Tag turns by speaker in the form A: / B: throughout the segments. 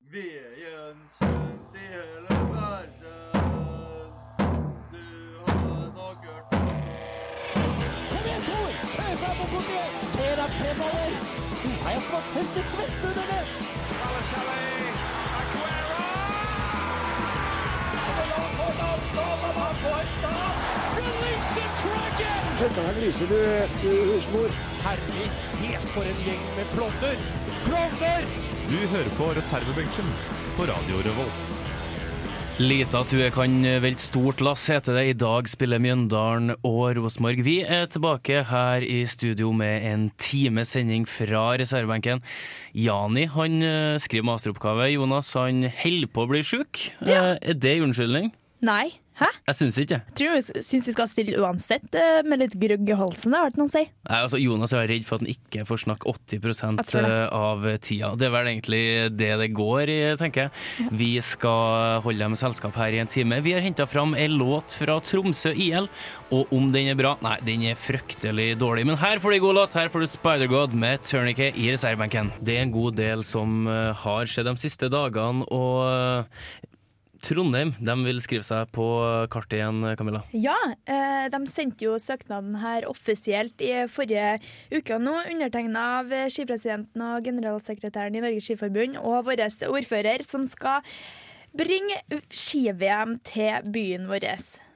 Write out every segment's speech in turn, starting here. A: ved gjenkjent i hele verden. Du har nok hørt om
B: Kom igjen, Tor! Kjør fram og bort igjen! Se deg fremover! Du har jeg smakt tørket svett under det!
C: Du hører på reservebenken på Radio Revolt.
D: Lita tue kan velte stort lass, heter det. I dag spiller Mjøndalen og Rosenborg. Vi er tilbake her i studio med en times sending fra reservebenken. Jani han eh, skriver masteroppgave. Jonas han holder på å bli sjuk.
E: Ja.
D: Eh, Er det unnskyldning?
E: Nei. Hæ?
D: Jeg syns ikke det.
E: Tror du syns vi skal stille uansett, eh, med litt grugg i halsen? Det har vært noe å si.
D: Nei, Altså, Jonas er redd for at han ikke får snakke 80
E: Jeg tror det.
D: av tida. Det er vel egentlig det det går i, tenker jeg. Vi skal holde dem selskap her i en time. Vi har henta fram en låt fra Tromsø IL, og om den er bra Nei, den er fryktelig dårlig, men her får du en god låt. Her får du Spider-God med Tourniquet i reservebenken. Det er en god del som eh, har skjedd de siste dagene, og eh, Trondheim de vil skrive seg på kartet igjen, Camilla.
E: Ja, eh, de sendte jo søknaden her offisielt i forrige uke nå, undertegna av eh, skipresidenten og generalsekretæren i Norges Skiforbund og vår ordfører, som skal bringe ski-VM til byen vår.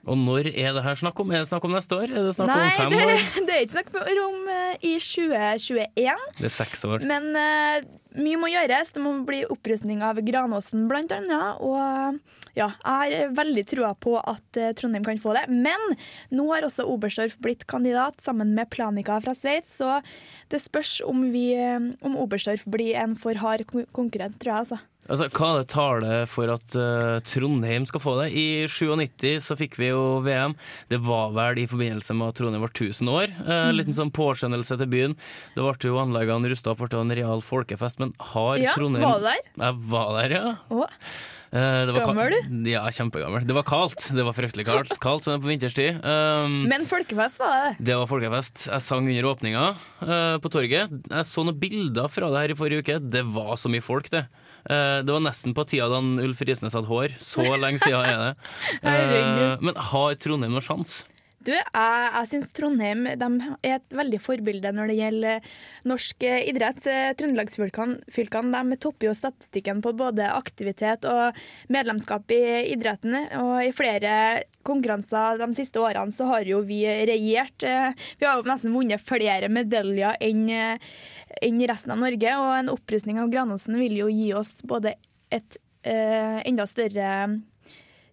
D: Og når er det her snakk om? Er det snakk om neste år? Er det snakk
E: Nei,
D: om fem
E: det,
D: år?
E: det er ikke snakk om eh, i 2021.
D: Det er seks år.
E: Men eh, mye må gjøres. Det må bli opprustning av Granåsen blant annet. Og ja, jeg har veldig trua på at eh, Trondheim kan få det. Men nå har også Oberstdorf blitt kandidat sammen med Planica fra Sveits, så det spørs om, vi, eh, om Oberstdorf blir en for hard kon- konkurrent, tror jeg, altså.
D: Altså, hva er det tale for at eh, Trondheim skal få det? I 97 så fikk vi jo VM. Det var vel i forbindelse med at Trondheim var 1000 år. Eh,
E: Mm.
D: En liten sånn påskjønnelse til byen. Det ble jo anleggene rusta opp, ble jo en real folkefest. Men har
E: Ja,
D: Trondheim
E: var du der?
D: Jeg var der, ja.
E: Å,
D: Eh, det var ka-
E: Gammel
D: Ja, kjempegammel. Det var kaldt. Det var fryktelig kaldt, kaldt sånn på vinterstid. Um,
E: men folkefest var det.
D: Det var folkefest. Jeg sang under åpninga eh, på torget. Jeg så noen bilder fra det her i forrige uke. Det var så mye folk, det. Eh, det var nesten på tida da han Ulf Risnes hadde hår. Så lenge siden er det. Eh,
E: Herregud.
D: men har Trondheim noen sjanse?
E: Du, jeg, jeg syns Trondheim de er et veldig forbilde når det gjelder eh, norsk eh, idrett. Eh, Trøndelagsfylkene fylkene, de topper jo statistikken på både aktivitet og medlemskap i idretten. Og i flere konkurranser de siste årene så har jo vi regjert. eh, Vi har jo nesten vunnet flere medaljer enn eh, enn resten av Norge, og en opprustning av Granåsen vil jo gi oss både et eh, enda større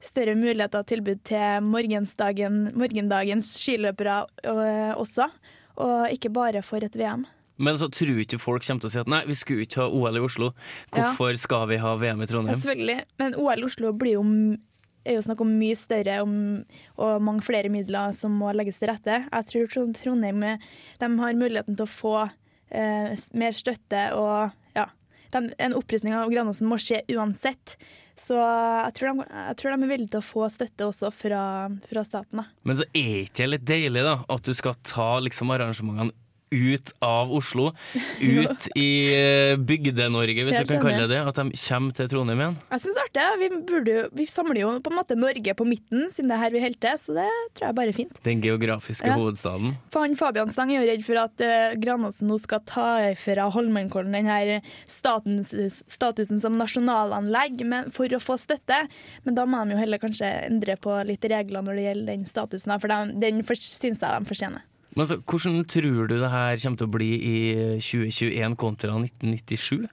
E: større muligheter og tilbud til morgendagen, morgendagens skiløpere øh, også. Og ikke bare for et VM.
D: Men så tror ikke folk kommer til å si at nei, vi skulle ikke ha OL i Oslo. Hvorfor skal vi ha VM i
E: Ja,
D: Trondheim?
E: selvfølgelig. Men OL i Oslo blir jo, er jo snakk om mye større om, og mange flere midler som må legges til rette. Jeg tror Tron- Trondheim eh, de har muligheten til å få eh, s- mer støtte og ja. De, en opprustning av Granåsen må skje uansett. Så jeg tror, de, jeg tror de er villige til å få støtte også fra, fra staten. Da.
D: Men så er ikke det litt deilig, da, at du skal ta liksom arrangementene ut av Oslo, ut i eh, Bygde-Norge, hvis
E: Helt
D: du kan kalle
E: enig.
D: det det. At de kommer til Trondheim igjen.
E: Jeg synes det er artig. ja. Vi, burde, jo- vi samler jo på en måte Norge på midten, siden det er her vi holder til, så det tror jeg bare er fint.
D: Den geografiske
E: Ja.
D: hovedstaden.
E: For han Fabian Stang er jo redd for at eh, Granåsen nå skal ta fra Holmenkollen den her statens, statusen som nasjonalanlegg men, for å få støtte, men da må de jo heller kanskje endre på litt regler når det gjelder den statusen, her, for den, den for, synes jeg de fortjener.
D: Men altså, Hvordan tror du det her kommer til å bli i 2021 kontra 1997?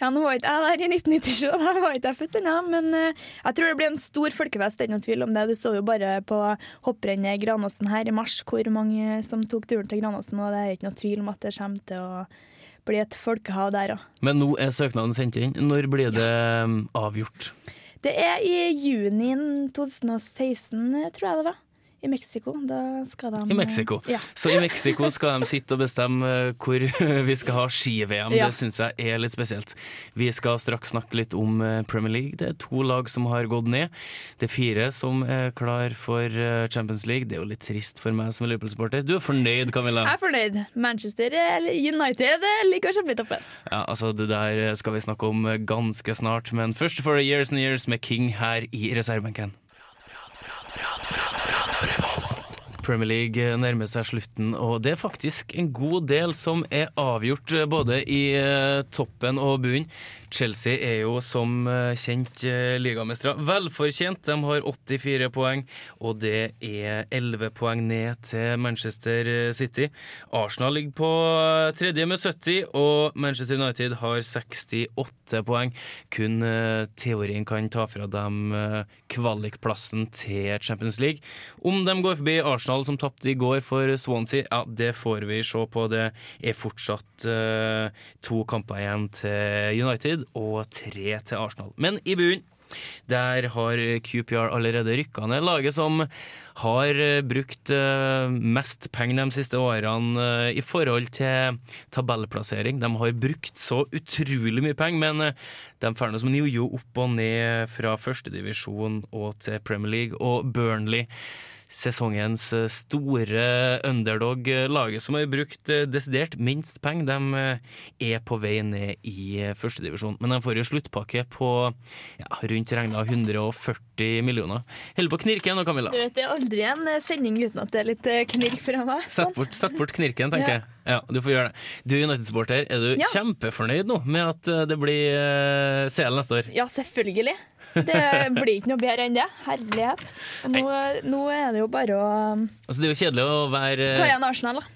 E: Ja, nå var ikke jeg der i 1997, og da var ikke jeg født ennå, men eh, jeg tror det blir en stor folkefest, det er ikke noe tvil om det. Du så jo bare på hopprennet i Granåsen her i mars, hvor mange som tok turen til Granåsen, og det er ikke noe tvil om at det kommer til å bli et folkehav der òg.
D: Men nå er søknaden sendt inn. Når blir det um, avgjort?
E: Det er i juni 2016, tror jeg det var. I Mexico. Da skal de eh,
D: I Mexico.
E: Ja.
D: Så i Mexico skal de sitte og bestemme eh, hvor vi skal ha ski-VM.
E: Ja.
D: Det syns jeg er litt spesielt. Vi skal straks snakke litt om eh, Premier League. Det er to lag som har gått ned. Det er fire som er klar for eh, Champions League. Det er jo litt trist for meg som er Liverpool-supporter. Du er fornøyd, Camilla?
E: Jeg er fornøyd. Manchester eller United eh, ligger kjempetoppen.
D: Ja, altså Det der skal vi snakke om ganske snart, men først får det Years and Years med King her i reservebenken. Premier League nærmer seg slutten, og det er faktisk en god del som er avgjort eh, både i eh, toppen og bunnen. Chelsea er jo som eh, kjent eh, ligamestere. Velfortjent, de har 84 poeng, og det er 11 poeng ned til Manchester eh, City. Arsenal ligger på eh, tredje med 70, og Manchester United har 68 poeng. Kun eh, teorien kan ta fra dem eh, kvalikplassen til Champions League. Om de går forbi Arsenal, som tapte i går for Swansea, ja, det får vi se på. Det er fortsatt eh, to kamper igjen til United og tre til Arsenal. Men i bunnen der har QPR allerede rykka ned. Laget som har eh, brukt eh, mest penger de siste årene eh, i forhold til tabellplassering. De har brukt så utrolig mye penger, men eh, de drar nå som en jojo opp og ned fra førstedivisjon og til Premier League. Og Burnley, sesongens eh, store underdog, eh, laget som har brukt eh, desidert minst penger, de eh, er på vei ned i eh, førstedivisjon. Men de får jo sluttpakke på ja, rundt regna 140 millioner. Holder på å knirke nå, Camilla.
E: Du vet, Det er aldri en eh, sending uten at det er litt eh, knirk fra meg.
D: Sett
E: Sånn.
D: bort, sett bort knirken, tenker
E: Ja.
D: jeg. Ja, Du får gjøre det. Du United-supporter, er du
E: Ja.
D: kjempefornøyd nå med at eh, det blir eh, CL neste år?
E: Ja, selvfølgelig. Det blir ikke noe bedre enn det. Herlighet. Og nå, nå er det jo bare å eh,
D: Altså, det er jo kjedelig å være
E: ta igjen Arsenal, da.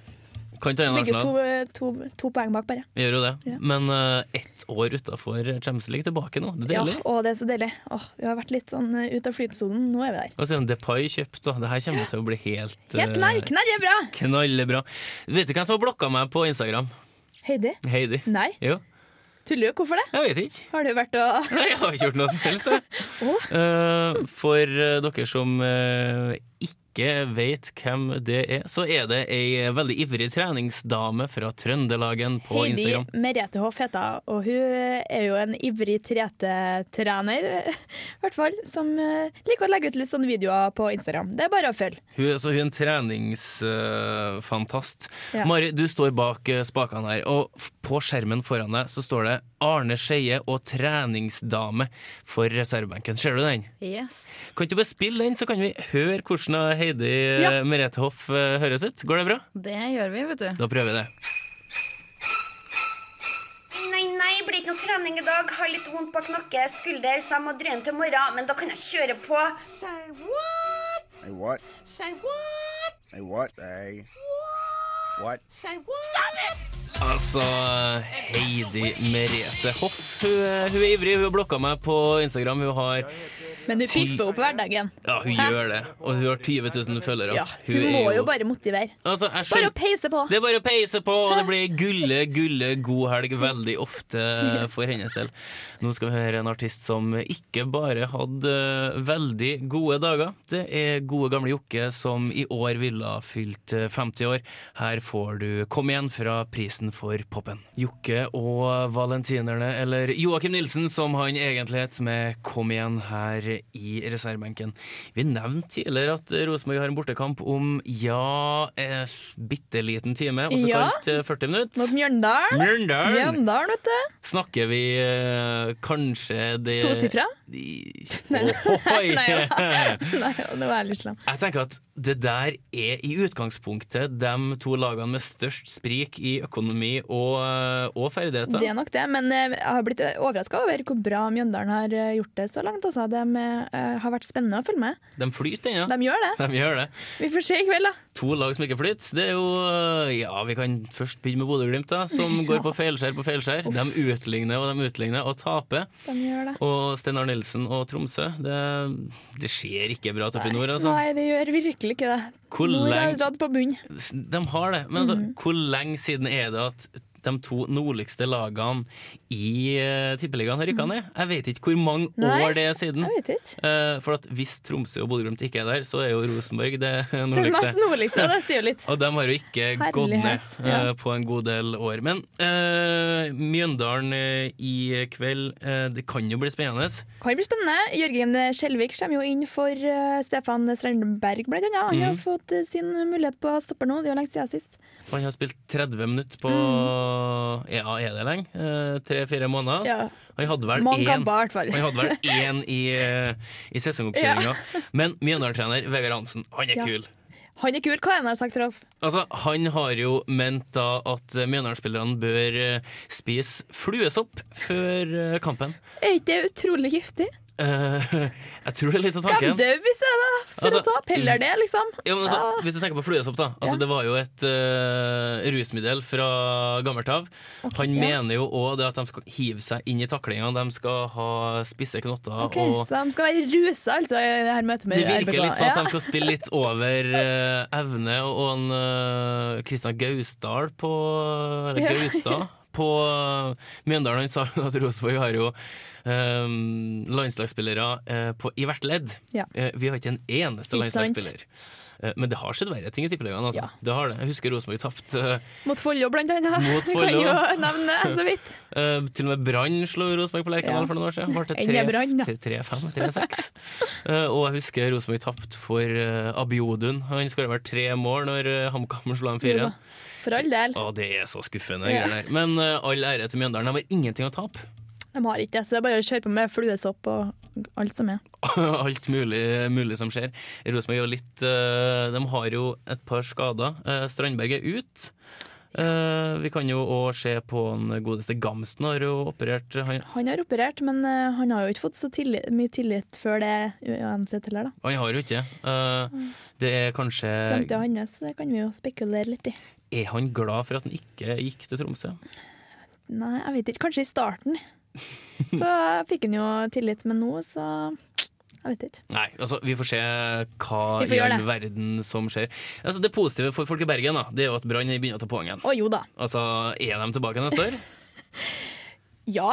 D: Kan ta Eh, igjen
E: Ligger
D: Arsenal.
E: to, eh, to, to poeng bak, bare.
D: Vi Gjør jo det.
E: Ja.
D: Men eh, ett år utafor Champions League tilbake nå. Det er
E: Ja,
D: deilig.
E: å, det er så deilig. Åh, vi har vært litt sånn eh, ut av flytesonen. Nå er vi der.
D: Og så er det Depay kjøpt, da. Det her kommer til å bli helt,
E: Helt
D: eh,
E: lerkene, det er bra!
D: knallbra. Vet du hvem som har blokka meg på Instagram?
E: Heidi?
D: Heidi.
E: Nei,
D: Jo,
E: tuller du? Hvorfor det?
D: jeg vet ikke.
E: Har du vært og
D: Nei, jeg har ikke gjort noe som helst. jeg.
E: Åh.
D: Eh, for eh, dere som eh, ikke vet hvem det er, så er det ei eh, veldig ivrig treningsdame fra Trøndelagen på
E: Heidi
D: Instagram.
E: Merete Hoff heter jeg, og hun eh, er jo en ivrig 3T-trener, i hvert fall, som eh, liker å legge ut litt sånne videoer på Instagram. Det er bare å følge.
D: Hun, er- så hun er en treningsfantast.
E: Ja.
D: Mari, du står bak eh, spakene her, og f- på skjermen foran deg så står det 'Arne Skeie og treningsdame' for reservebenken. Ser du den?
E: Yes.
D: Kan ikke du bare spille den, så kan vi høre hvordan eh, Heidi eh,
E: Ja.
D: Merete Hoff eh, høres ut? Går det bra?
F: Det gjør vi, vet du.
D: Da prøver vi det.
G: Nei, nei, blir ikke noe trening i dag. Har litt vondt bak nakke, skulder, så jeg må drøye den til morgen. Men da kan jeg kjøre på.
H: Say what? Say what? Say what? Say what? Say what? Stop it!
D: Altså, Heidi Merete Hoff. Hun er, hun er ivrig. Hun har blokka meg på Instagram. Hun har
E: Men hun piffer opp hverdagen.
D: Sånn- Ja, hun gjør det. Og hun har 20 000 følgere.
E: Ja, hun må jo bare motivere.
D: altså, jeg
E: Bare
D: skjønner-
E: å peise på.
D: det er bare å peise på, og det blir gulle, gulle god helg veldig ofte for hennes del. Nå skal vi høre en artist som ikke bare hadde eh, veldig gode dager. Det er gode gamle Jokke som i år ville ha fylt eh, 50 år. Her får du Kom igjen fra prisen for popen. Jokke og Valentinerne, eller Joakim Nilsen som han egentlig het, med Kom igjen her i reservebenken. Vi nevnte tidligere at Rosenborg har en bortekamp om ja, eh, bitte liten time, også
E: Ja.
D: kalt eh, 40 minutter.
E: Mot Mjøndalen.
D: Mjøndalen!
E: Mjøndalen, vet du.
D: Snakker vi eh, kanskje det
E: Tosifra?
D: I-
E: Nei.
D: Ohoi.
E: Nei, ja. Nei, nå er jeg litt slem.
D: Jeg tenker at det der er i utgangspunktet de to lagene med størst sprik i økonomi og, eh, og ferdigheter.
E: Det er nok det, men eh, jeg har blitt overraska over hvor bra Mjøndalen har eh, gjort det så langt. Altså. De eh, har vært spennende å følge med.
D: De flyter ennå.
E: De gjør det.
D: De gjør det.
E: Vi får se i kveld, da.
D: To lag som ikke flyter. Det er jo eh, Ja, vi kan først begynne med Bodø-Glimt, da, som går på feilskjær på feilskjær. De utligner og de utligner og taper.
E: De gjør det.
D: Og Steinar Nilsen og Tromsø Det, det skjer ikke bra oppe i nord, altså.
E: Nei, det gjør virkelig ikke det.
D: Hvor
E: Nord har
D: lenge-
E: dratt på bunn. Mhm.
D: De har det. Men altså, hvor lenge siden er det at de to nordligste lagene i uh, Tippeligaen har rykka ned. Jeg vet ikke hvor mange
E: Mhm. Nei,
D: år det er siden.
E: Jeg vet ikke.
D: Eh, for at hvis Tromsø og Bodø-Glimt ikke er der, så er jo Rosenborg det
E: Det er
D: nordligste.
E: nesten nordligste, det sier jo litt.
D: Og de har jo ikke gått ned
E: Herlighet, ja.
D: eh, på en god del år. Men eh, Mjøndalen eh, i kveld, eh, det kan jo bli spennende.
E: Kan bli spennende. Jørgen Skjelvik kommer jo inn for eh, Stefan Strandberg, blant annet. Han
D: Mhm.
E: har fått eh, sin mulighet på stopper nå, det er jo lenge siden sist.
D: Han har spilt 30 minutter på Ja, er det lenge? Tre-fire måneder.
E: Mm. Ja.
D: Han hadde vel
E: Mange
D: én
E: kamper, i hvert fall.
D: Han hadde vel én i, eh, i sesongoppkjøringa. Men Mjøndalen-trener Vegard Hansen, han er
E: Ja.
D: kul.
E: Han er kul, hva han har sagt, Rolf?
D: Altså, Han har jo ment da at eh, Mjøndalen-spillerne bør eh, spise fluesopp før eh, kampen.
E: Er ikke det utrolig giftig?
D: Eh, jeg tror det er litt av
E: Kan
D: tanken.
E: dø hvis jeg da for
D: Altså,
E: å ta opp heller det, liksom.
D: Ja, men altså, hvis du tenker på fluesopp, da. Altså,
E: Ja.
D: Det var jo et eh, rusmiddel fra gammelt av. Han
E: ja.
D: mener jo òg at de skal hive seg inn i taklingene. De skal ha spisse knotter.
E: Ok,
D: og
E: Så de skal være rusa, altså, i det her møtet med
D: det virker
E: RBK.
D: litt sånn at
E: Ja.
D: de skal spille litt over eh, evne. Og en eh, Kristian Gausdal på Eller
E: Ja.
D: Gaustad på eh, Mjøndalen han sa jo at Rosenborg har jo eh, landslagsspillere eh, på, i hvert ledd.
E: Ja.
D: Eh, vi har ikke en eneste
E: Ikke sant.
D: landslagsspiller. Eh, Men det har skjedd verre ting i Tippeligaen. Altså.
E: Ja.
D: Det har det. Jeg husker Rosenborg tapte. eh,
E: Mot Follo, blant annet.
D: Mot
E: Vi
D: Follo.
E: Kan jo nevne det, så vidt.
D: eh, til og med Brann slo Rosenborg på Lerkendal
E: Ja.
D: for noen år siden. Ble det
E: Enn det Brann, da.
D: tre- tre- 3-5, 3-6. Eh, Og jeg husker Rosenborg tapte for eh, Abiodun. Han skåra vel tre mål når eh, HamKam slo dem
E: Jo
D: fire.
E: da, For all del.
D: Å, det er så skuffende.
E: Ja.
D: greier der. Men eh, all ære til Mjøndalen. De har ingenting å tape.
E: De har ikke det, så det er bare å kjøre på med fluesopp og alt som er.
D: alt mulig, mulig som skjer. Rosenborg er jo litt eh, De har jo et par skader. Eh, Strandberg er ut. Eh, vi kan jo òg se på den godeste Gamsten har jo operert. Han,
E: Han har operert, men eh, han har jo ikke fått så tilli mye tillit før det uansett heller, da.
D: han har jo ikke. Eh,
E: Mm.
D: det er kanskje
E: Framtida
D: Eh,
E: hans det kan vi jo spekulere litt i.
D: Er han glad for at han ikke gikk til Tromsø?
E: Nei, jeg vet ikke. Kanskje i starten. Så fikk han jo tillit, men nå, så Jeg vet ikke.
D: Nei, altså vi får se hva
E: Vi får
D: i
E: gjøre
D: all
E: det.
D: verden som skjer. Altså Det positive for folk i Bergen da Det er jo at Brann begynner å ta poeng igjen.
E: Å jo da.
D: Altså, Er de tilbake neste år?
E: Ja,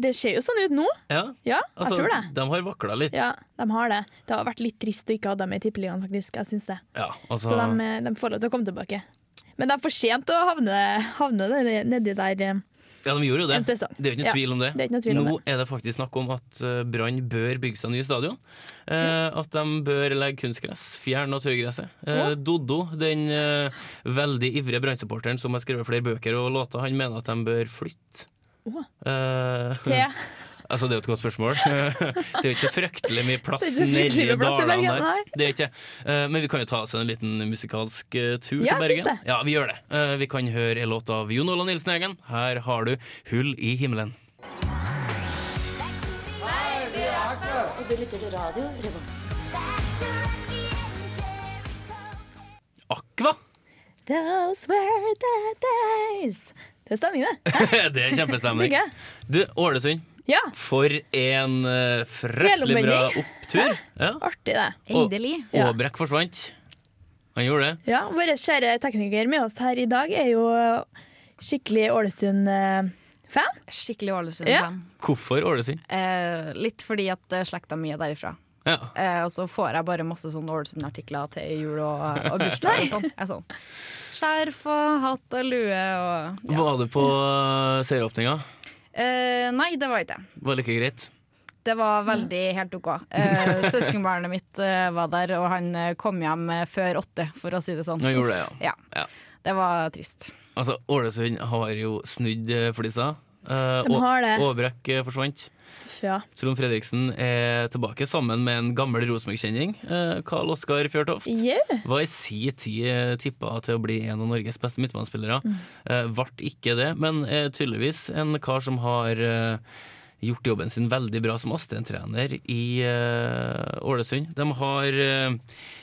E: det ser jo sånn ut nå.
D: Ja,
E: Ja,
D: altså,
E: jeg tror det.
D: De har vakla litt.
E: Ja, de har det. Det har vært litt trist å ikke ha dem i tippeligaen, faktisk. Jeg syns det.
D: Ja, altså,
E: Så de, eh, de får lov til å komme tilbake. Men det er for sent å havne, havne nedi- nedi der. eh.
D: Ja, de gjorde jo det.
E: En sesong.
D: Det er jo ikke noe
E: Ja,
D: tvil om det.
E: det er ikke noe tvil om
D: Nå er det faktisk snakk om at eh, Brann bør bygge seg nye stadion. Eh, at de bør legge kunstgress, fjerne naturgresset. Eh,
E: Mm. Ja.
D: Doddo, den eh, veldig ivrige Brann-supporteren som har skrevet flere bøker og låter, han mener at de bør flytte.
E: Å.
D: Eh,
E: Til
D: altså, det er jo et godt spørsmål. det er jo ikke så fryktelig mye plass
E: Det er ikke så fryktelig
D: nedi
E: mye plass i
D: dalene
E: Bergen, nei.
D: der. Det er ikke. Eh, men vi kan jo ta oss en liten musikalsk eh, tur
E: Ja,
D: til
E: jeg syns
D: Bergen.
E: det.
D: Ja, vi gjør det. Eh, vi kan høre en låt av Jon Ola Nilsen Eggen. Her har du 'Hull i himmelen'. Aqua!
E: Those were the days. Det er stemning, det.
D: det er kjempestemning.
E: Digger jeg.
D: Du, Ålesund.
E: Ja,
D: For en eh, fryktelig bra
E: Helomvending.
D: opptur. Ja.
E: artig, det.
D: Og-
F: Endelig.
E: Ja.
D: Aabrekk forsvant. Han gjorde det.
E: Ja, Vår kjære tekniker med oss her i dag er jo skikkelig eh, Ålesund-fan.
F: Skikkelig Ålesund-fan.
D: Hvorfor Ålesund?
F: Eh, litt fordi at eh, slekta mi er derifra.
D: Ja.
F: Eh, og så får jeg bare masse sånne Ålesund-artikler til jul og, og bursdag. og sånn. Jeg er sånn. Skjerf og hatt og lue og
D: Var du på eh, serieåpninga?
F: Eh, Nei, det var ikke det.
D: Var det ikke greit?
F: Det var veldig helt OK. Eh, Søskenbarnet mitt eh, var der, og han eh, kom hjem eh, før åtte, for å si det sånn.
D: Han gjorde det, ja.
F: Ja.
D: Ja.
F: Det var trist.
D: Altså, Ålesund har jo snudd eh, flisa. Eh,
E: De
D: Å-
E: har det.
D: Aabrekk eh, forsvant.
E: Ja.
D: Trond Fredriksen er tilbake sammen med en gammel Rosenborg-kjenning. Eh, Karl Oskar Fjørtoft
E: Yeah.
D: var i si tid eh, tippa til å bli en av Norges beste midtbanespillere. Eh, Vart ikke det, men eh, tydeligvis en kar som har eh, gjort jobben sin veldig bra som Astrid-trener i eh, Ålesund. De har eh,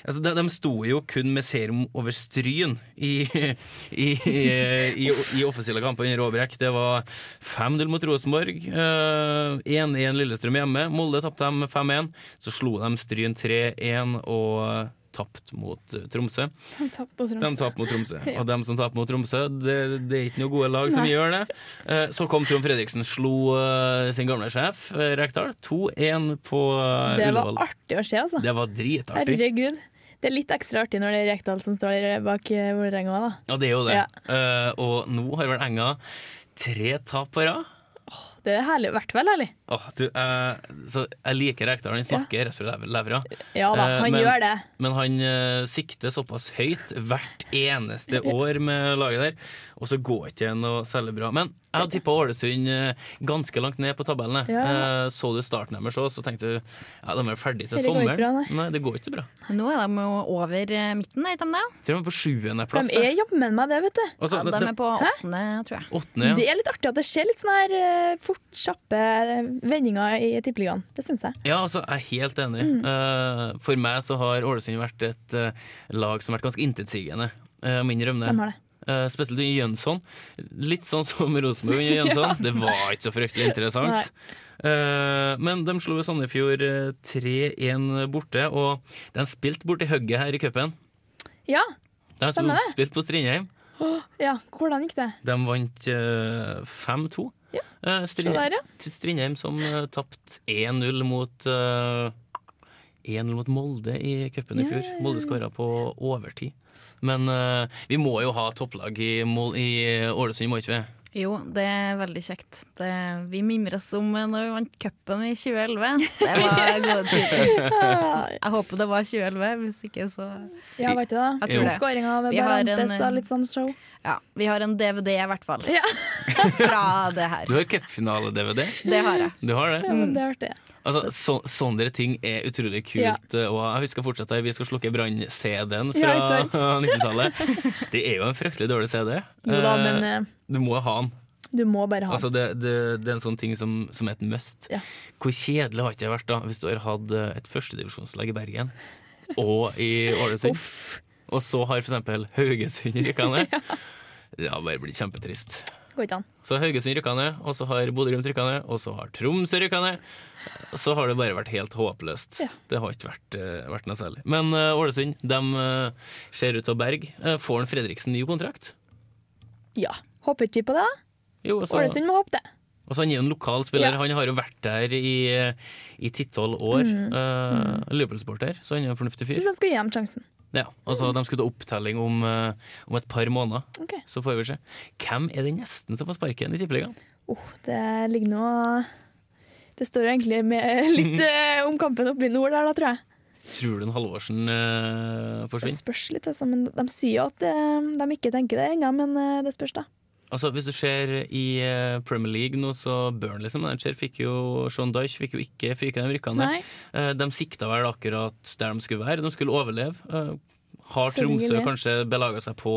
D: Altså, de, de sto jo kun med serum over Stryn i, i, i, i, i offisielle kamper under Aabrekk. Det var 5-0 mot Rosenborg. eh, 1-1 Lillestrøm hjemme. Molde tapte dem 5-1. Så slo de Stryn 3-1 og tapt mot eh, Tromsø.
E: Tapp på Tromsø.
D: De taper mot Tromsø. Og dem som taper mot Tromsø, det, det er ikke noe gode lag som gjør det. Eh, Så kom Trond Fredriksen, slo eh, sin gamle sjef eh, Rekdal 2-1 på eh,
E: Det var
D: Ullevål.
E: artig å se, altså.
D: Det var dritartig.
E: Herregud. Det er litt ekstra artig når det er Rekdal som står der bak eh, Vålerenga òg, da.
D: Ja, det er jo det.
E: Ja.
D: Eh, og nå har vel Enga tre tap på rad.
E: Det er herlig. I hvert fall herlig.
D: Åh, du, eh, så jeg liker Rekdal, han snakker rett fra lev- levra.
E: Ja da,
D: Eh,
E: han
D: men-
E: gjør det.
D: Men han eh, sikter såpass høyt hvert eneste år med laget der, og så går ikke det noe særlig bra. Men jeg hadde tippa Ålesund eh, ganske langt ned på tabellen. jeg.
E: Ja.
D: Eh, så du starten deres òg, så tenkte du ja, de er vel ferdige til
E: Det går ikke
D: sommeren.
E: bra, nei.
D: nei. det går ikke så bra.
F: Men nå er de jo over eh, midten, er ikke de det?
D: Jeg tror de er på sjuendeplass. eh.
E: De er jammen meg det, vet du.
D: Altså,
F: Ja, de er på åttende, tror jeg.
D: åttende,
E: Det
D: ja.
E: er litt artig at det skjer litt sånne her eh, fort, kjappe vendinger i Tippeligaen. Det syns jeg.
D: ja, altså, jeg er helt enig.
E: Mm.
D: Eh, for meg så har Ålesund vært et eh, lag som har vært ganske intetsigende. Uh, min rømne.
E: De har det.
D: Eh, spesielt under Jønsson. Litt sånn som Rosenborg under Jønsson. Det var ikke så fryktelig interessant. Eh, men de slo jo Sandefjord eh, 3-1 borte, og de spilte borti hugget her i cupen.
E: Ja.
D: De spilte
E: Stemmer det.
D: spilt på Strindheim.
E: ja. Hvordan gikk det?
D: De vant eh, 5-2.
E: Ja.
D: Eh,
E: Se der,
D: Strindheim,
E: ja.
D: til Strindheim som uh, tapte 1-0 mot eh, 1-0 mot Molde i cupen i fjor. Molde skåra på overtid. Men eh, vi må jo ha topplag i, Mol i Ålesund, må ikke vi?
F: Jo, det er veldig kjekt. Det, vi mimres om eh, når vi vant cupen i 2011. Det var gode tider. Jeg håper det var 2011, hvis ikke så
E: Ja, vet du det?
F: Jeg tror det.
E: Skåring av
F: Vi har en,
E: Barantes
F: eh,
E: og litt sånn show.
F: Ja, vi har en DVD i hvert fall
E: Ja,
F: fra det her.
D: Du har cupfinale-DVD.
F: Det har jeg.
D: Du har
E: ja
D: det.
E: men det er artig.
D: Altså, så, sånne ting er utrolig
E: Ja.
D: kult. eh, Og jeg husker fortsatt der vi skal slukke brann-CD-en fra
E: Ja, ikke
D: 19-tallet. Det er jo en fryktelig dårlig CD.
E: Jo da,
D: Eh,
E: men eh,
D: Du må ha den.
E: du må bare ha
D: Altså, det, det, det er en sånn ting som, som er et must.
E: Ja.
D: Hvor kjedelig har ikke det vært da hvis du har hatt eh, et førstedivisjonslag i Bergen og i Ålesund, og så har f.eks. Haugesund rykka ned? Det har bare blitt kjempetrist.
E: det. Går ikke an.
D: Så Haugesund rykka ned, og så har Bodø-Glimt rykka ned, og så har Tromsø rykka ned. Så har det bare vært helt håpløst.
E: Ja.
D: Det har ikke vært, eh, vært noe særlig. Men eh, Ålesund de eh, ser ut til å berge. Eh, får han Fredriksen ny kontrakt?
E: Ja. Håper ikke vi på det? da?
D: Jo, og så, og
E: Ålesund må håpe det.
D: så han er en lokal spiller.
E: Ja.
D: Han har jo vært der i, eh, i ti-tolv år.
E: Mm.
D: Eh, Liverpool-sporter, så han er en fornuftig
E: Syns
D: fyr.
E: de skulle gi dem sjansen.
D: Ja, altså, De skulle ta opptelling om, eh, om et par måneder.
E: Ok.
D: Så får vi se. Hvem er den gjesten som får sparken i Tippeligaen?
E: Oh, det ligger nå Det står jo egentlig med litt eh, om kampen oppe i nord der, da, tror jeg.
D: Tror du en Halvorsen eh,
E: Det
D: forsvinner?
E: spørs litt, altså. Men de sier jo at eh, de ikke tenker det ennå, men eh, det spørs, da.
D: Altså, Hvis du ser i eh, Premier League nå, så Burnley som manager fikk jo Sean Dyche fikk jo ikke fyke de rykkene.
E: Nei.
D: Eh, De sikta vel akkurat der de skulle være. De skulle overleve. Eh, Har Tromsø
E: Selvfølgelig.
D: kanskje belaga seg på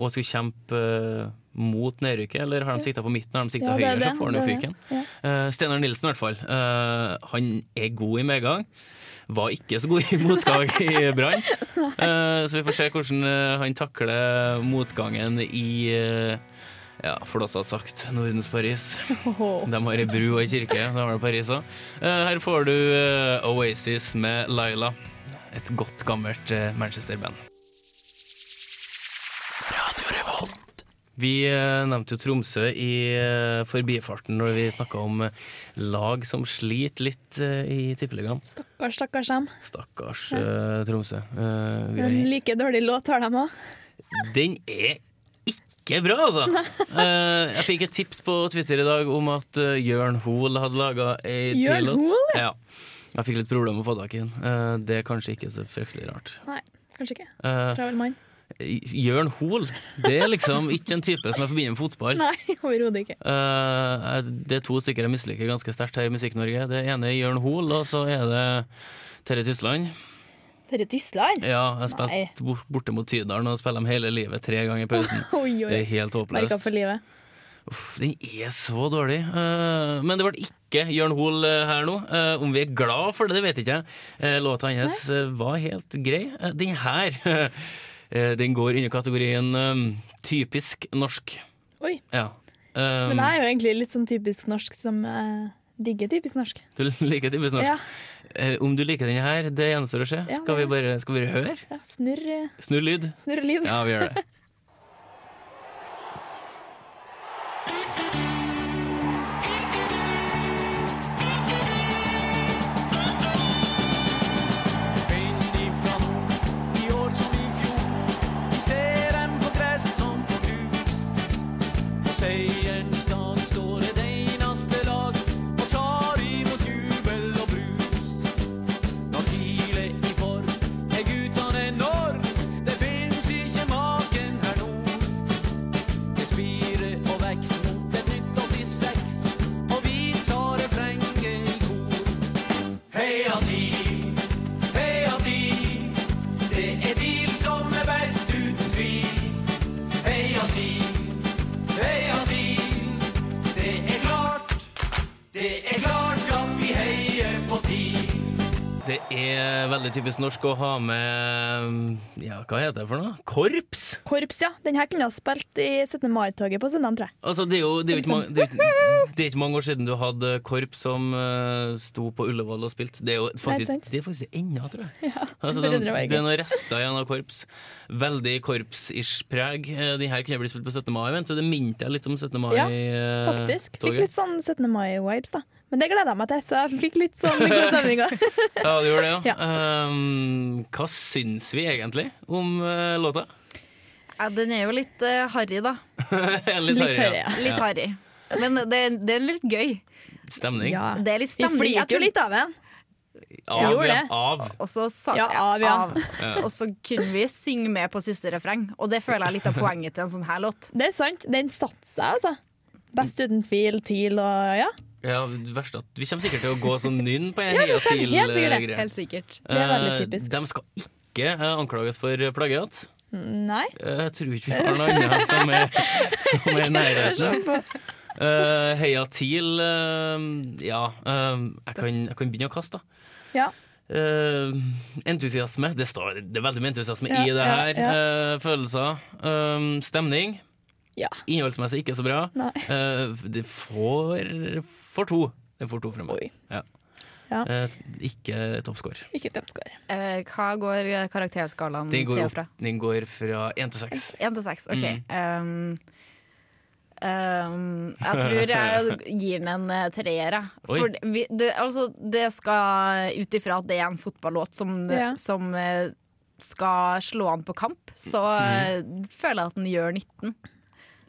D: å skulle kjempe eh, mot nedrykket, eller har de sikta på midten, har de sikta
E: Ja, det er
D: høyere,
E: det,
D: så får han jo
E: det er det.
D: fyken. Eh, Steinar Nilsen, i hvert fall. Eh, han er god i medgang. Var ikke så god i motgang i Brann. Eh, så vi får se hvordan eh, han takler motgangen i eh, ja, flåsete sagt, Nordens Paris. De har ei bru og ei kirke. Da har du Paris òg. Her får du eh, Oasis med Laila. Et godt, gammelt eh, Manchester-band. Vi eh, nevnte jo Tromsø i eh, forbifarten når vi snakka om eh, lag som sliter litt eh, i Tippeligaen.
E: Stakkars, stakkars dem.
D: Stakkars eh, Tromsø. Eh, vi har
E: En like dårlig låt har de òg.
D: Den er ikke bra, altså! Eh, jeg fikk et tips på Twitter i dag om at eh, Jørn Hoel hadde laga ei
E: Jørn
D: tillåt.
E: Hoel,
D: Ja. Jeg fikk litt problemer med å få tak i den. Eh, det er kanskje ikke så fryktelig rart.
E: Nei, kanskje ikke.
D: Eh,
E: Travel mann.
D: Jørn Hoel, det er liksom ikke en type som jeg forbinder med fotball.
E: Nei, overhodet ikke.
D: Eh, det er to stykker jeg misliker ganske sterkt her i Musikk-Norge. Det ene er Jørn Hoel, og så er det Terje Tysland.
E: Dette er Tysland?
D: Ja, jeg
E: Nei.
D: spilte bort- borte mot Tydalen og spiller dem hele livet tre ganger i pausen.
E: Oi,
D: Det
E: oi.
D: er helt
E: Merka
D: håpløst.
E: for livet.
D: Uff, Den er så dårlig. Eh, men det ble ikke Jørn Hoel eh, her nå. Eh, om vi er glad for det, det vet jeg ikke. Eh, låta hans eh, var helt grei. Eh, den her eh, den går under kategorien eh, typisk norsk.
E: Oi.
D: Ja. Eh, Mm.
E: Men jeg er jo egentlig litt sånn typisk norsk som eh, Digger typisk norsk.
D: Du liker typisk norsk.
E: Ja,
D: Eh, om du liker denne her, det gjenstår å se.
E: Ja,
D: Skal vi
E: det-
D: bare, skal vi bare høre?
E: ja snurr, eh,
D: Snurr lyd?
E: snurr liv.
D: Ja, vi gjør det. Det er veldig typisk norsk å ha med mm, Ja, hva heter det for noe? Korps?
E: Korps, ja. Den her kunne ha spilt i 17. mai-toget på søndag, tror jeg.
D: Altså, det er jo det er jo ikke, mange, det er jo ikke, det er ikke mange år siden du hadde korps som eh, sto på Ullevål og spilte. Det er jo
E: Nei, sant.
D: faktisk, det er faktisk ennå, tror jeg. altså,
E: forundrer
D: det,
E: meg ikke.
D: det er noen rester igjen av korps. Veldig korps-ish preg. Eh, De her kunne blitt spilt på 17. mai, vent, og det minte jeg litt om 17. mai.
E: Ja,
D: eh,
E: Faktisk. Fikk
D: toget.
E: litt sånn 17. mai-vibes, da. Men det gleda jeg meg til, så jeg fikk litt sånn god stemning òg.
D: Ja, du gjorde det, ja.
E: Ja.
D: Ehm, hva syns vi egentlig om eh, låta?
F: Ja, den er jo litt eh, harry, da.
D: litt
E: Litt
D: harry,
E: harry,
D: ja.
F: Litt harry. Men det, det er litt gøy.
D: Stemning.
E: Ja.
F: Det er litt
E: Vi
F: stemning.
E: flirte
F: Jeg tror
E: jo litt av den.
D: Av,
E: gjorde
D: ja.
E: det.
D: Av.
F: Og så sang
E: Ja,
F: jeg
E: av, ja.
F: av. Og så kunne vi synge med på siste refreng. Og det føler jeg er litt av poenget til en sånn her låt.
E: Det er sant. Den satte seg, altså. Best uten tvil, TIL og ja.
D: Ja, det verste er at Vi kommer sikkert til å gå sånn nynn på en
E: Ja, vi kommer
D: hiafil,
E: helt sikkert det.
D: eh, greie.
F: Helt sikkert.
E: Det er veldig
D: Eh,
E: typisk.
D: De skal ikke eh, anklages for plagiat.
E: Nei.
D: Eh, Jeg tror ikke vi har noe annet som er, som er i nærheten. Eh, heia TIL eh, Ja, eh, jeg kan, jeg kan begynne å kaste, da.
E: Ja.
D: Eh, entusiasme. Det, står, det er veldig mye entusiasme
E: Ja,
D: i det
E: ja,
D: her. Eh, følelser. eh, stemning.
E: Ja.
D: Innholdsmessig ikke så bra.
E: Nei.
D: Eh, det får, får to. Det får to fremover.
E: Oi.
D: Ja.
E: Ja.
D: Eh, ikke toppscore.
E: Ikke tømtskår.
F: Eh, hva går eh, karakterskalaen
D: Den går,
F: til og
D: opp,
F: fra?
D: den går fra én til seks.
F: Én til seks, OK. Um, um, jeg tror jeg gir den en eh, treer. jeg.
D: Oi.
F: For vi, det, altså, det skal ut ifra at det er en fotballåt som,
E: Ja.
F: som eh, skal slå an på kamp, så eh, føler jeg at den gjør nytten.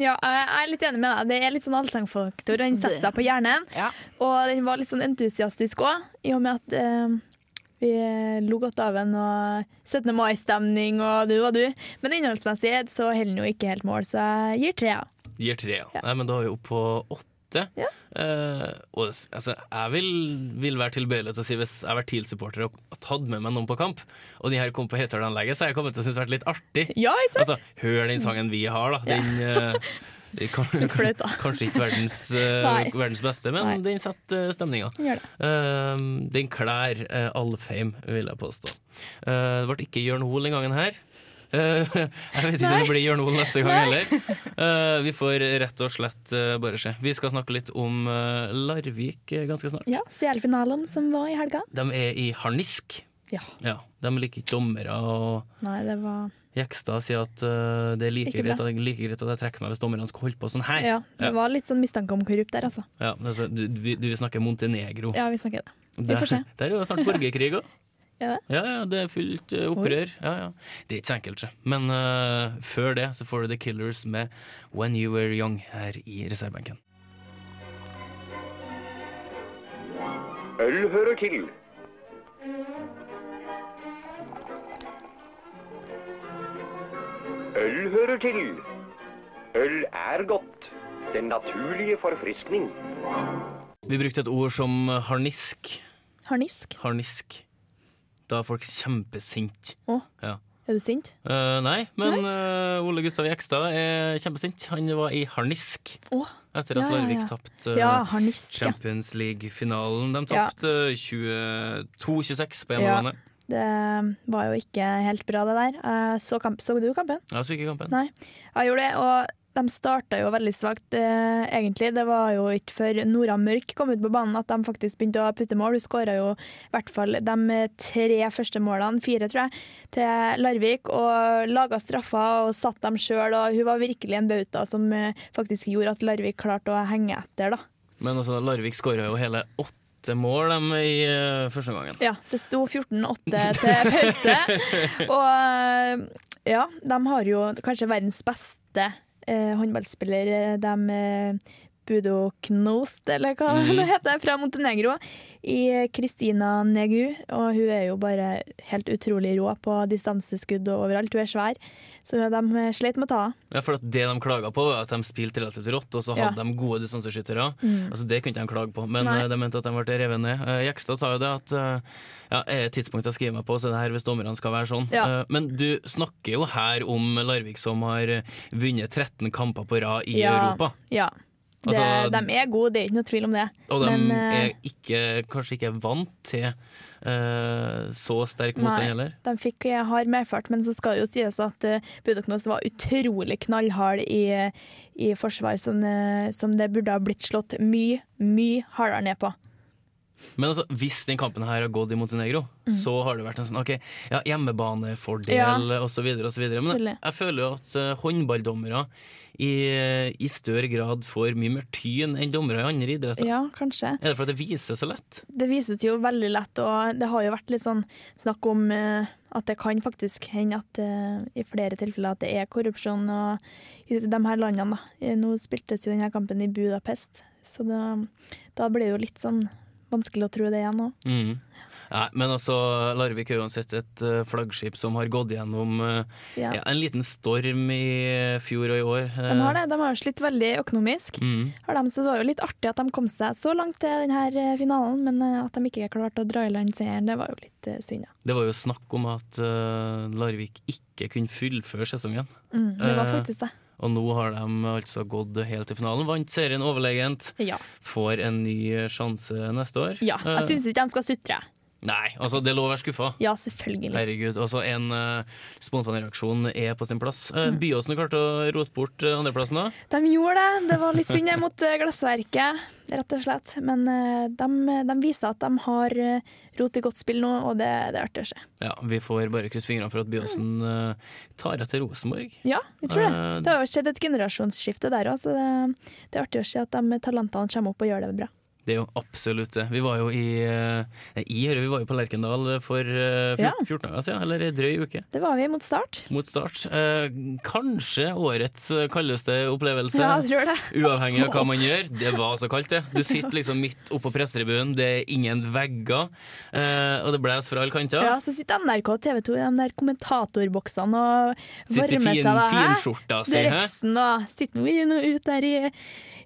E: Ja, jeg jeg er litt enig med deg. Det er litt sånn allsangfaktor. Den setter seg på hjernen.
F: Ja.
E: Og den var litt sånn entusiastisk òg, i og med at eh, vi lo godt av den, og 17. mai-stemning og du og du. Men innholdsmessig så holder den jo ikke helt mål, så jeg gir tre. ja.
D: Gir tre, ja. Nei, men da er vi oppe på åtte.
E: Ja.
D: Eh, og s- altså, jeg vil, vil være tilbøyelig til å si hvis jeg har vært TIL-supporter og tatt med meg noen på kamp, og de her kom på Hetølanlegget, så har jeg kommet til å synes det har vært litt artig.
E: Ja, ikke sant?
D: Altså, hør den sangen vi har, da. Den, eh, det kan,
E: Litt flaut, da.
D: Kanskje ikke verdens, eh,
E: Nei.
D: verdens beste, men
E: Nei.
D: den setter eh, stemninga.
E: Den gjør det.
D: Eh, den klær eh, Alfheim, vil jeg påstå. Eh, det ble ikke Jørn Hoel den gangen her. Eh, jeg vet ikke om
E: Nei.
D: det blir Jørn Hoel neste gang
E: Nei.
D: heller. Eh, vi får rett og slett eh, bare se. Vi skal snakke litt om eh, Larvik eh, ganske snart.
E: Ja, CL-finalen som var i helga.
D: De er i harnisk.
E: Ja.
D: Ja, de liker ikke dommere. og
E: Nei, det var
D: Jekstad sier at eh, det er like
E: Ikke bra.
D: greit, at, like greit at jeg trekker meg hvis dommerne skal holde på sånn her.
E: Ja, det
D: Ja,
E: var litt sånn mistanke om korrupt der, altså.
D: ja, altså, du, du, du snakker Montenegro.
E: Ja, vi snakker det. Vi
D: Der,
E: får se.
D: der er jo snart borgerkrig òg.
E: Er det?
D: Ja, ja, det er fullt eh, opprør. Ja, ja. Det er ikke så enkelt, sjø. Men eh, før det så får du The Killers med When You Were Young her i reservebenken.
I: Øl hører til. Øl hører til. Øl er godt. Den naturlige forfriskning.
D: Vi brukte et ord som harnisk.
E: Harnisk.
D: Harnisk. Da er folk kjempesint.
E: Å,
D: Ja.
E: er du sint?
D: Eh, nei, men eh, Ole Gustav Jekstad er kjempesint. Han var i harnisk
E: Å,
D: etter at
E: Ja, ja,
D: Larvik
E: ja.
D: tapte eh,
E: ja, harnisk. Ja.
D: Champions League-finalen. De
E: Ja.
D: tapte 22-26 på
E: Ja.
D: hjemmebane.
E: Det var jo ikke helt bra, det der. Eh, Så, kamp, så du kampen?
D: Jeg så ikke kampen.
E: Nei. Jeg gjorde det, og De starta jo veldig svakt, eh, egentlig. Det var jo ikke før Nora Mørk kom ut på banen at de faktisk begynte å putte mål. Hun skåra jo i hvert fall de tre første målene, fire tror jeg, til Larvik. Og laga straffer og satt dem sjøl. Og hun var virkelig en bauta som eh, faktisk gjorde at Larvik klarte å henge etter, da.
D: Men altså, Larvik skåra jo hele åtte mål dem, i eh, første omgangen.
E: Ja, det sto 14-8 til pause. Og ja, de har jo kanskje verdens beste eh, håndballspiller. De eh, Budo Knost, eller hva
D: Mhm.
E: det heter, fra Montenegro, i Kristina Negu. Og hun er jo bare helt utrolig rå på distanseskudd og overalt. Hun er svær, så de sleit med å ta henne.
D: Ja, for at Det de klaga på, var at de spilte relativt rått, og så hadde
E: Ja. Mm.
D: de gode distanseskyttere. Altså, det kunne ikke de klage på, men
E: Nei.
D: eh, de mente at de ble revet ned. Eh, Jekstad sa jo det at eh, ja, er det et tidspunkt jeg skriver meg på, så er det her hvis dommerne skal være sånn.
E: Ja.
D: Eh, Men du snakker jo her om Larvik som har eh, vunnet 13 kamper på rad i Europa.
E: Ja. Det,
D: Altså-
E: de er gode, det er ikke noe tvil om det.
D: Og de
E: Men, eh,
D: er ikke, kanskje ikke vant til eh, så sterk motstand heller.
E: de fikk eh, hard medfart, men så skal det jo sies at uh, Budoknos var utrolig knallhard i, i forsvar, som, eh, som det burde ha blitt slått mye, mye hardere ned på.
D: Men altså, hvis den kampen her har gått i Montenegro, så har det vært en sånn ok, ja, hjemmebanefordel
E: Mhm. Ja.
D: og så videre og så videre. Men
E: Selvfølgelig.
D: jeg føler jo at eh, håndballdommere i, i større grad får mye mer tyn enn dommere i andre idretter.
E: Ja, kanskje.
D: Er det fordi det viser seg lett?
E: Det vises jo veldig lett, og det har jo vært litt sånn snakk om eh, at det kan faktisk hende at eh, i flere tilfeller at det er korrupsjon og i de her landene. da. Eh, Nå spiltes jo denne kampen i Budapest, så da, da ble det jo litt sånn vanskelig å tro det igjen òg.
D: Mm. Nei, men altså, Larvik er uansett et eh, flaggskip som har gått gjennom eh,
E: Ja.
D: ja, en liten storm i fjor og i år. eh,
E: De har det, de har jo slitt veldig økonomisk.
D: Mm.
E: har de, så det var jo litt artig at de kom seg så langt til denne finalen, men eh, at de ikke klarte å dra i land seieren, det var jo litt eh, synd. Ja.
D: Det var jo snakk om at eh, Larvik ikke kunne fullføre sesongen.
E: Mm, det var
D: Eh,
E: faktisk det.
D: Og nå har de altså gått helt til finalen. Vant serien overlegent.
E: Ja.
D: Får en ny eh, sjanse neste år.
E: ja.
D: Eh,
E: Jeg syns ikke de skal sutre.
D: Nei, altså, det er lov å være skuffa.
E: Ja, selvfølgelig.
D: Herregud. Altså, en eh, spontan reaksjon er på sin plass. Uh,
E: Mm.
D: Byåsen klarte å rote bort eh, andreplassen da.
E: De gjorde det. Det var litt synd det mot eh, Glassverket, rett og slett. Men eh, de, de viser at de har eh, rot i godt spill nå, og det, det er artig å se.
D: Ja, vi får bare krysse fingrene for at Byåsen
E: Mm.
D: eh, tar etter Rosenborg.
E: Ja, vi tror det.
D: Eh,
E: Det har jo skjedd et generasjonsskifte der òg, så det, det er artig å se at de talentene kommer opp og gjør det bra.
D: Det er jo absolutt det. Vi var jo i, eh, nei, i Høre, vi var jo på Lerkendal for eh,
E: Ja.
D: 14 dager siden, eller en drøy uke.
E: Det var vi mot start.
D: mot start. Eh, kanskje årets eh, kaldeste opplevelse.
E: Ja, jeg tror det.
D: Uavhengig av hva man gjør. Det var så kaldt, det. Du sitter liksom midt oppå pressetribunen, det er ingen vegger, eh, og det blåser fra alle kanter.
E: Ja, så sitter NRK og TV 2 i de der kommentatorboksene og
D: Sitter i
E: varmer
D: fin-
E: seg. da. Hæ?
D: finskjorta si, hæ?
E: Drøssen og sitter nå inne og ut der i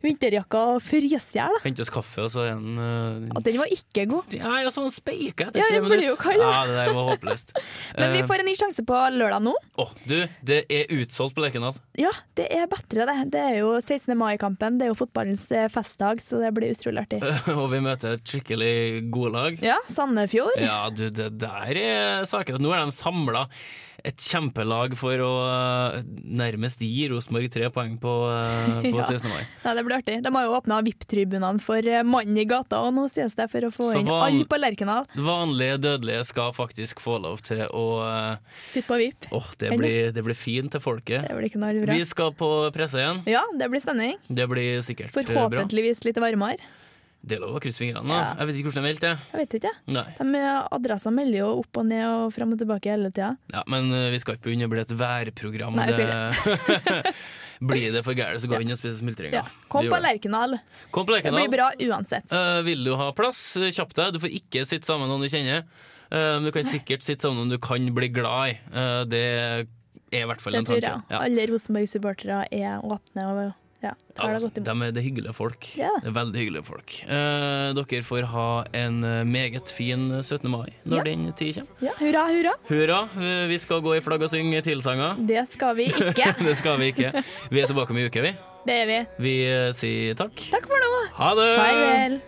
E: vinterjakka og fryser i hjel. da.
D: Henter oss kaffe, og så er den eh,
E: Og Den var ikke god.
D: Ja, ja, så var den speika etter
E: Ja,
D: tre
E: den blir jo
D: minutter.
E: kald,
D: Ja,
E: da.
D: det der var håpløst.
E: Men vi
D: Eh,
E: får en ny sjanse på lørdag nå.
D: Å, du, det er utsolgt på Lerkendal.
E: Ja, det er bedre, det. Det er jo 16. mai-kampen. Det er jo fotballens eh, festdag, så det blir utrolig artig.
D: og vi møter et skikkelig godlag.
E: Ja, Sandefjord.
D: Ja, du, det der er eh, saker at nå er de samla et kjempelag for å eh, nærmest gi Rosenborg tre poeng på, eh, på
E: Ja.
D: 16. mai.
E: Nei, det blir artig. De har jo åpna VIP-tribunene for eh, mannen i gata, og nå sies det for å få
D: Så
E: inn
D: hva-
E: alle på Lerkendal.
D: Vanlige dødelige skal faktisk få lov til å eh,
E: Sitt på VIP.
D: Åh, det, blir, det blir fint til folket.
E: Det blir ikke noe bra.
D: Vi skal på presse igjen.
E: Ja, det blir stemning.
D: Det blir sikkert eh, bra.
E: Forhåpentligvis litt varmere.
D: Det er lov å krysse fingrene.
E: Ja.
D: da. Jeg vet ikke hvordan de meldte det.
E: Jeg vet ikke.
D: Nei.
E: De adressa melder jo opp og ned og fram og tilbake hele tida.
D: Ja, men eh, vi skal ikke begynne å bli et værprogram.
E: Nei,
D: det... blir det for gærent, så går vi inn og spiser smultringer.
E: Ja. Kom
D: Vi
E: på
D: gjør det.
E: Lerkendal.
D: Kom på
E: Det
D: Lerkendal.
E: blir bra uansett.
D: Eh, vil du ha plass, eh, kjapp deg. Du får ikke sitte sammen med noen du kjenner. Eh, men du kan sikkert sitte sammen med noen du kan bli glad i. Eh, det er i hvert fall
E: Det
D: en
E: tror
D: tanke.
E: jeg. Alle Rosenborg-supportere er åpne og ja,
D: Ja,
E: tar det
D: altså,
E: godt imot.
D: de er det hyggelige folk.
E: Ja.
D: Det er Veldig hyggelige folk. Eh, dere får ha en eh, meget fin 17. mai når
E: Ja.
D: den tid kommer.
E: Ja, hurra, hurra!
D: Hurra, eh, vi skal gå i flagg og synge tilsanger.
E: Det skal vi ikke.
D: det skal vi ikke. Vi er tilbake om ei uke, vi.
E: Det er vi.
D: Vi eh, sier takk.
E: Takk for nå.
D: Ha det!
E: Farvel.